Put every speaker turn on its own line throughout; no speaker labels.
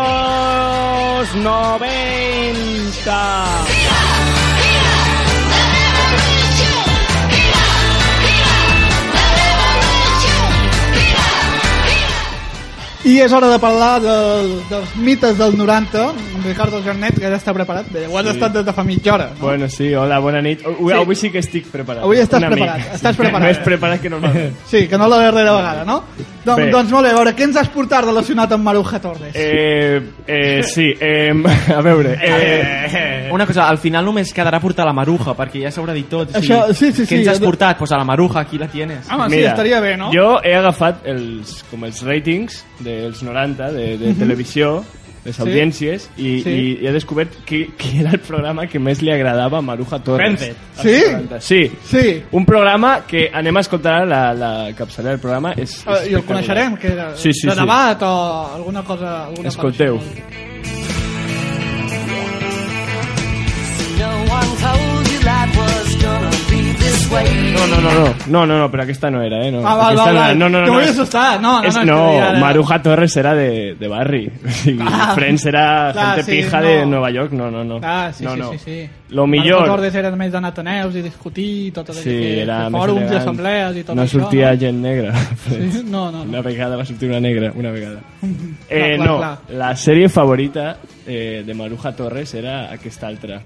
los 90.
I és hora de parlar del, dels mites del 90 amb Ricardo Jornet, que ja està preparat. Bé, ho has
Sí.
estat des de fa mitja hora. No?
Bueno, sí, hola, bona nit. Avui,
Sí.
avui sí que estic preparat.
Avui estàs
Una
preparat,
mica.
estàs preparat.
Més preparat que normalment.
Sí, que no la darrera vegada, no? Don,
Bé.
doncs molt bé, a veure, què ens has portat relacionat amb Maruja Torres?
Eh, eh, sí, eh, a veure... Eh,
Una cosa, al final només quedarà portar la maruja, perquè ja s'haurà dit tot.
Això- sí, sí,
Què
sí,
ens has
jo-
portat? Pues a la maruja, aquí la tienes.
Home, sí, estaria bé, no?
Jo he agafat els, com els ratings dels 90 de, de televisió, les
Sí.
audiències, i,
Sí.
i he descobert que, que era el programa que més li agradava a Maruja Torres.
Friends.
als
Sí?
90. Sí.
Sí, Eh,
Un programa que anem a escoltar ara la, la capçalera del programa. És, és
eh, i el
espectacular.
coneixerem, que era
Sí, sí,
de
sí.
debat o alguna cosa... Alguna
Escolteu.
Cosa. així.
No one told you life was gonna be this way.
No, no, no, no, no, no, no, però aquesta no era, eh? No,
Ah, val,
Aquesta
val,
no,
val.
era. no, no, no,
Que
no,
vull
és-
assustar. No, no,
és,
no,
no,
ja, ja, ja.
Maruja Torres era de, de barri. O sigui,
Ah.
Friends era
Clar,
gente
sí,
pija de
no.
Nova York, no, no, no.
Ah, sí,
no,
sí,
no.
sí, sí.
Lo
Maruja
millor...
Torres era més d'anar a Ateneus i discutir i tot
Sí, era més
fòrums i
elegant.
assemblees i tot
no
això.
sortia gent negra.
no? Sí? No, no,
Una
no.
vegada va sortir una negra, una vegada.
clar,
Eh, no,
clar.
la sèrie favorita eh, de Maruja Torres era aquesta altra.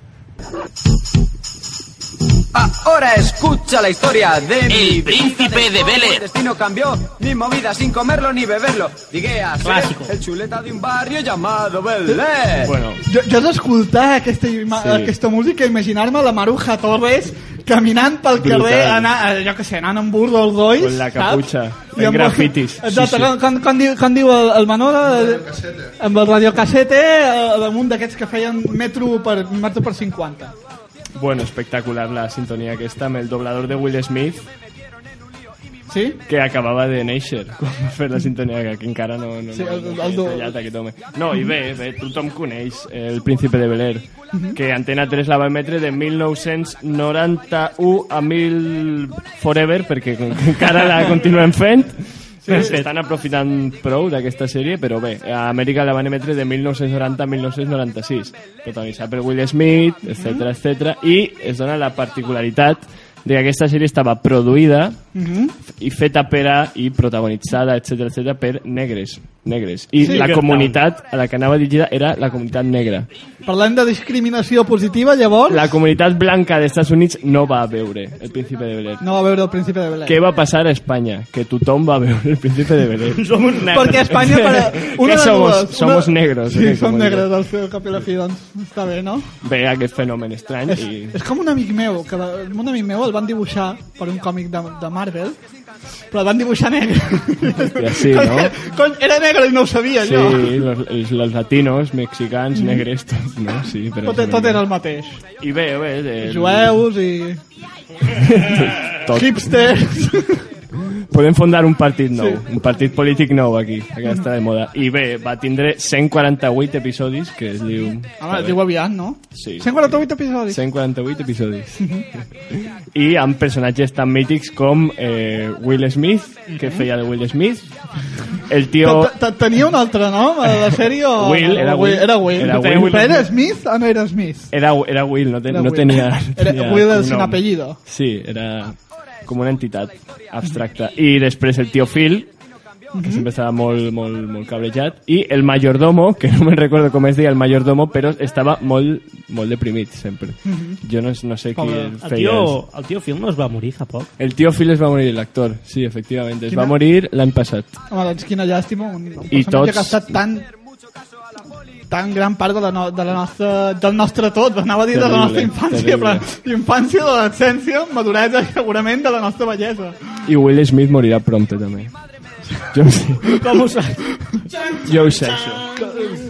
Ahora escucha la historia de mi
El príncipe de Bel
El
Air.
destino cambió, mi movida sin comerlo ni beberlo. Llegué a ser
Clásico.
el chuleta de un barrio llamado Bel Air.
Bueno,
Jo, jo he d'escoltar aquesta, ima-
Sí.
aquesta música i imaginar-me la Maruja Torres caminant pel
Brutal.
carrer, anar, eh, jo què sé, anant amb burro als dois.
Con la caputxa,
saps?
fent
I amb-
grafitis. Sí,
Exacte,
sí.
Com, com, com, diu, com diu el, el Manolo, eh, amb el radiocassete, eh, damunt d'aquests que feien metro per, metro per 50.
bueno, espectacular la sintonia aquesta amb el doblador de Will Smith
Sí?
que acabava de néixer quan va fer la sintonia que encara no, no,
Sí,
no,
el-
no,
el-
no,
el-
no, tallat aquest home. no, i bé, bé, tothom coneix eh, el príncipe de Bel Air que Antena 3 la va emetre de 1991 a 1000 forever perquè com que encara la continuem fent doncs estan aprofitant prou d'aquesta sèrie, però bé, a Amèrica la van emetre de 1990 a 1996, protagonitzada per Will Smith, etc etc i es dona la particularitat de que aquesta sèrie estava produïda
Mhm.
i feta per a, i protagonitzada, etc etc per negres. negres. I
Sí,
la
que
comunitat a la que anava dirigida era la comunitat negra.
Parlem de discriminació positiva, llavors,
La comunitat blanca dels Estats Units no va a veure el príncipe de Belén.
no va veure el príncipe de Belén.
Què va passar a Espanya? Que tothom va a veure el príncipe de Belén.
Som uns negres.
Perquè Espanya... Per... Una
Què
de
somos?
dues.
Somos
Una-
negros,
Sí,
eh,
som
com
negres,
diuen.
al seu cap i la fi, doncs. Està bé, no?
Ve aquest fenomen estrany
És,
i...
és com un amic meu, que va, un amic meu el van dibuixar per un còmic de, de Marvel, però el van dibuixar negre.
Hòstia, sí, no?
Cony, era negre i no ho sabia,
Sí,
jo.
los, els- los latinos, mexicans, negres, tots, no? Sí, però...
Tot, tot era el mateix.
I bé, bé... El...
Jueus i
Tot.
hipsters.
Podem fundar un partit nou,
Sí.
un partit polític nou aquí, que està de moda. I bé, va tindre 148 episodis, que es diu...
Home, es diu aviat, no?
Sí.
148 episodis.
148 episodis. I amb personatges tan mítics com eh, Will Smith, que feia de Will Smith, el tio...
Te- te- Tenia un altre nom a la sèrie? O...
Will, era
o
Will.
Era Will.
Era
Però
Will.
Era Smith o no era Smith?
Era, era Will, no, te,
Era
no
Will.
tenia... no
Era
tenia
Will
un
sin
nom.
apellido.
Sí, era com una entitat abstracta. I després el tio Phil, que sempre estava molt, molt, molt cablejat, i el majordomo, que no me'n recordo com es deia el majordomo, però estava molt, molt deprimit sempre. Jo no, no sé qui
El
feia... els-
tio, el tio Phil no es va morir fa poc.
El tío Phil es va a morir, l'actor. Sí, efectivament. Es
Quina-
va morir l'any passat.
Home, doncs quina llàstima, un, un
I
personatge tots...
tots-
que ha estat tan tan gran part de la, no, de la nostra, del nostre tot, anava a dir de
Terrible,
la nostra infància,
terrible.
però infància, de l'adolescència, maduresa i segurament de la nostra bellesa.
I Will Smith morirà prompte, també. Jo ho sé.
Com ho saps?
Jo ho sé, això.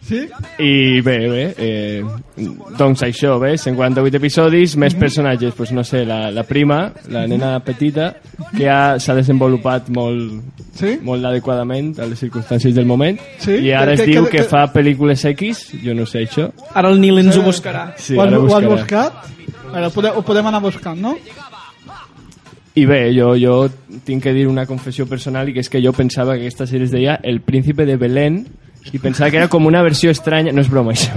Sí?
I bé, bé, eh, doncs això, bé, 148 episodis, més
Mhm.
personatges, doncs no sé, la, la prima, la nena petita, que ha- s'ha desenvolupat molt,
Sí?
molt adequadament a les circumstàncies del moment,
Sí?
i ara
Que-
es
que-
diu
que-
que
que-
fa pel·lícules X, jo no sé això,
Ara el Nil ens ho buscarà.
Sí,
ho, has,
ara
ho has
buscarà.
buscat? Ara, ho podem, ho podem anar buscant, no?
I bé, jo, jo tinc que dir una confessió personal i que és que jo pensava que aquesta sèrie es deia El príncipe de Belén y pensaba que era como una versió estranya... No és broma, això.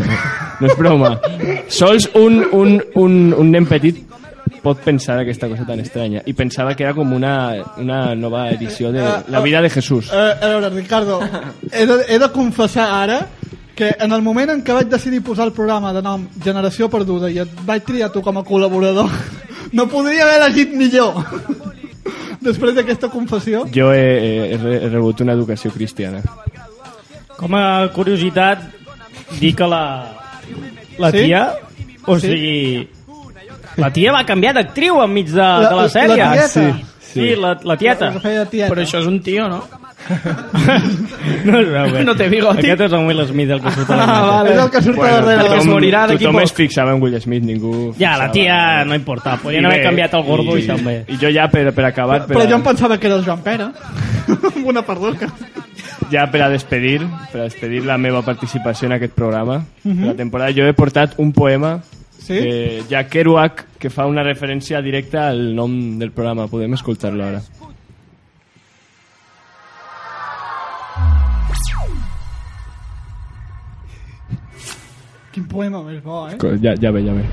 No és broma. Sols un, un, un, un nen petit pot pensar aquesta cosa tan estranya. I pensava que era com una, una nova edició de La vida de Jesús.
Eh, a veure, Ricardo, he de, he de confessar ara que en el moment en què vaig decidir posar el programa de nom Generació Perduda i et vaig triar tu com a col·laborador, no podria haver elegit millor. Després d'aquesta confessió...
Jo he, he, re- he rebut una educació cristiana.
Com a curiositat, dir que la, la
Sí?
tia... O
Sí.
sigui... La tia va canviar d'actriu enmig de, de la sèrie. Ah,
La tieta.
sí.
Sí, la, la tieta.
La feia tieta.
Però això és un tio, no?
No es veu bé.
No té bigoti.
Aquest és el Will Smith, el que surt a la imatge.
Ah, És el que surt bueno, darrere.
perquè es morirà d'aquí
tothom
poc.
es fixava en Will Smith, ningú...
Ja, la
fixava.
tia no importa. Podien
I
haver
bé,
canviat el gordo i, també.
I jo ja per, per acabar, per,
Però jo em pensava que era el Joan Pere. Amb una perruca.
ja per a despedir, per a despedir la meva participació en aquest programa, de la temporada, jo he portat un poema
Sí?
de Jack Kerouac que fa una referència directa al nom del programa. Podem escoltar-lo ara.
Quin poema més bo, eh?
Co- Ja, ja ve, ja ve.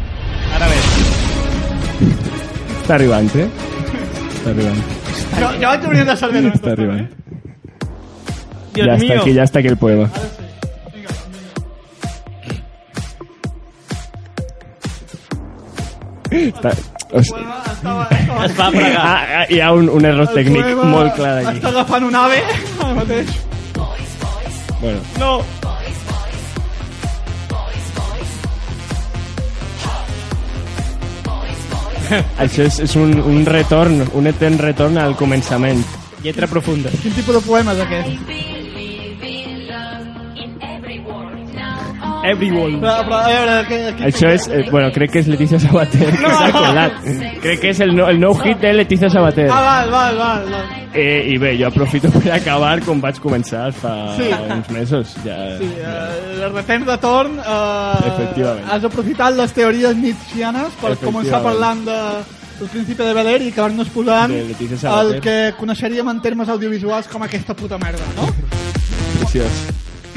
Ara ve. Està arribant, eh? Està arribant,
Jo, jo vaig obrir de cervesa.
està arribant.
Dios
ya
mío.
está aquí, ya está aquí el poema. Està, hosti,
Es va pues, pregar.
ah, ah, hi ha un, un error tècnic molt clar aquí.
Està agafant un ave ara mateix.
Bueno,
No.
això és, és un, un retorn, un etern retorn al començament.
Lletra profunda.
Quin tipus de poema és aquest?
Everyone.
Però, però, a veure, que, que,
Això és, eh, bueno, crec que és Letizia Sabater. que s'ha colat. Crec que és el, no, el nou hit de Letizia Sabater.
Ah, val, val, val. val.
Eh, I bé, jo aprofito per acabar com vaig començar fa
Sí.
uns mesos. Ja,
Sí, eh, el retem de torn eh,
Efectivament.
has aprofitat les teories nietzschianes per
Efectivament.
començar parlant de el príncipe de Bel-Air i acabar-nos posant
De Letizia Sabater.
el que coneixeríem en termes audiovisuals com aquesta puta merda, no?
preciós.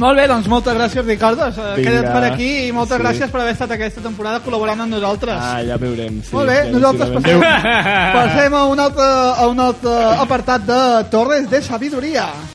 Molt bé, doncs moltes gràcies, Ricardo.
Vinga.
Eh, Queda't per aquí i moltes
Sí.
gràcies per haver estat aquesta temporada col·laborant amb nosaltres.
Ah, ja veurem. Sí,
Molt bé,
ja
nosaltres
decidimos.
passem, passem a, un altre, a un altre apartat de Torres de Sabidoria.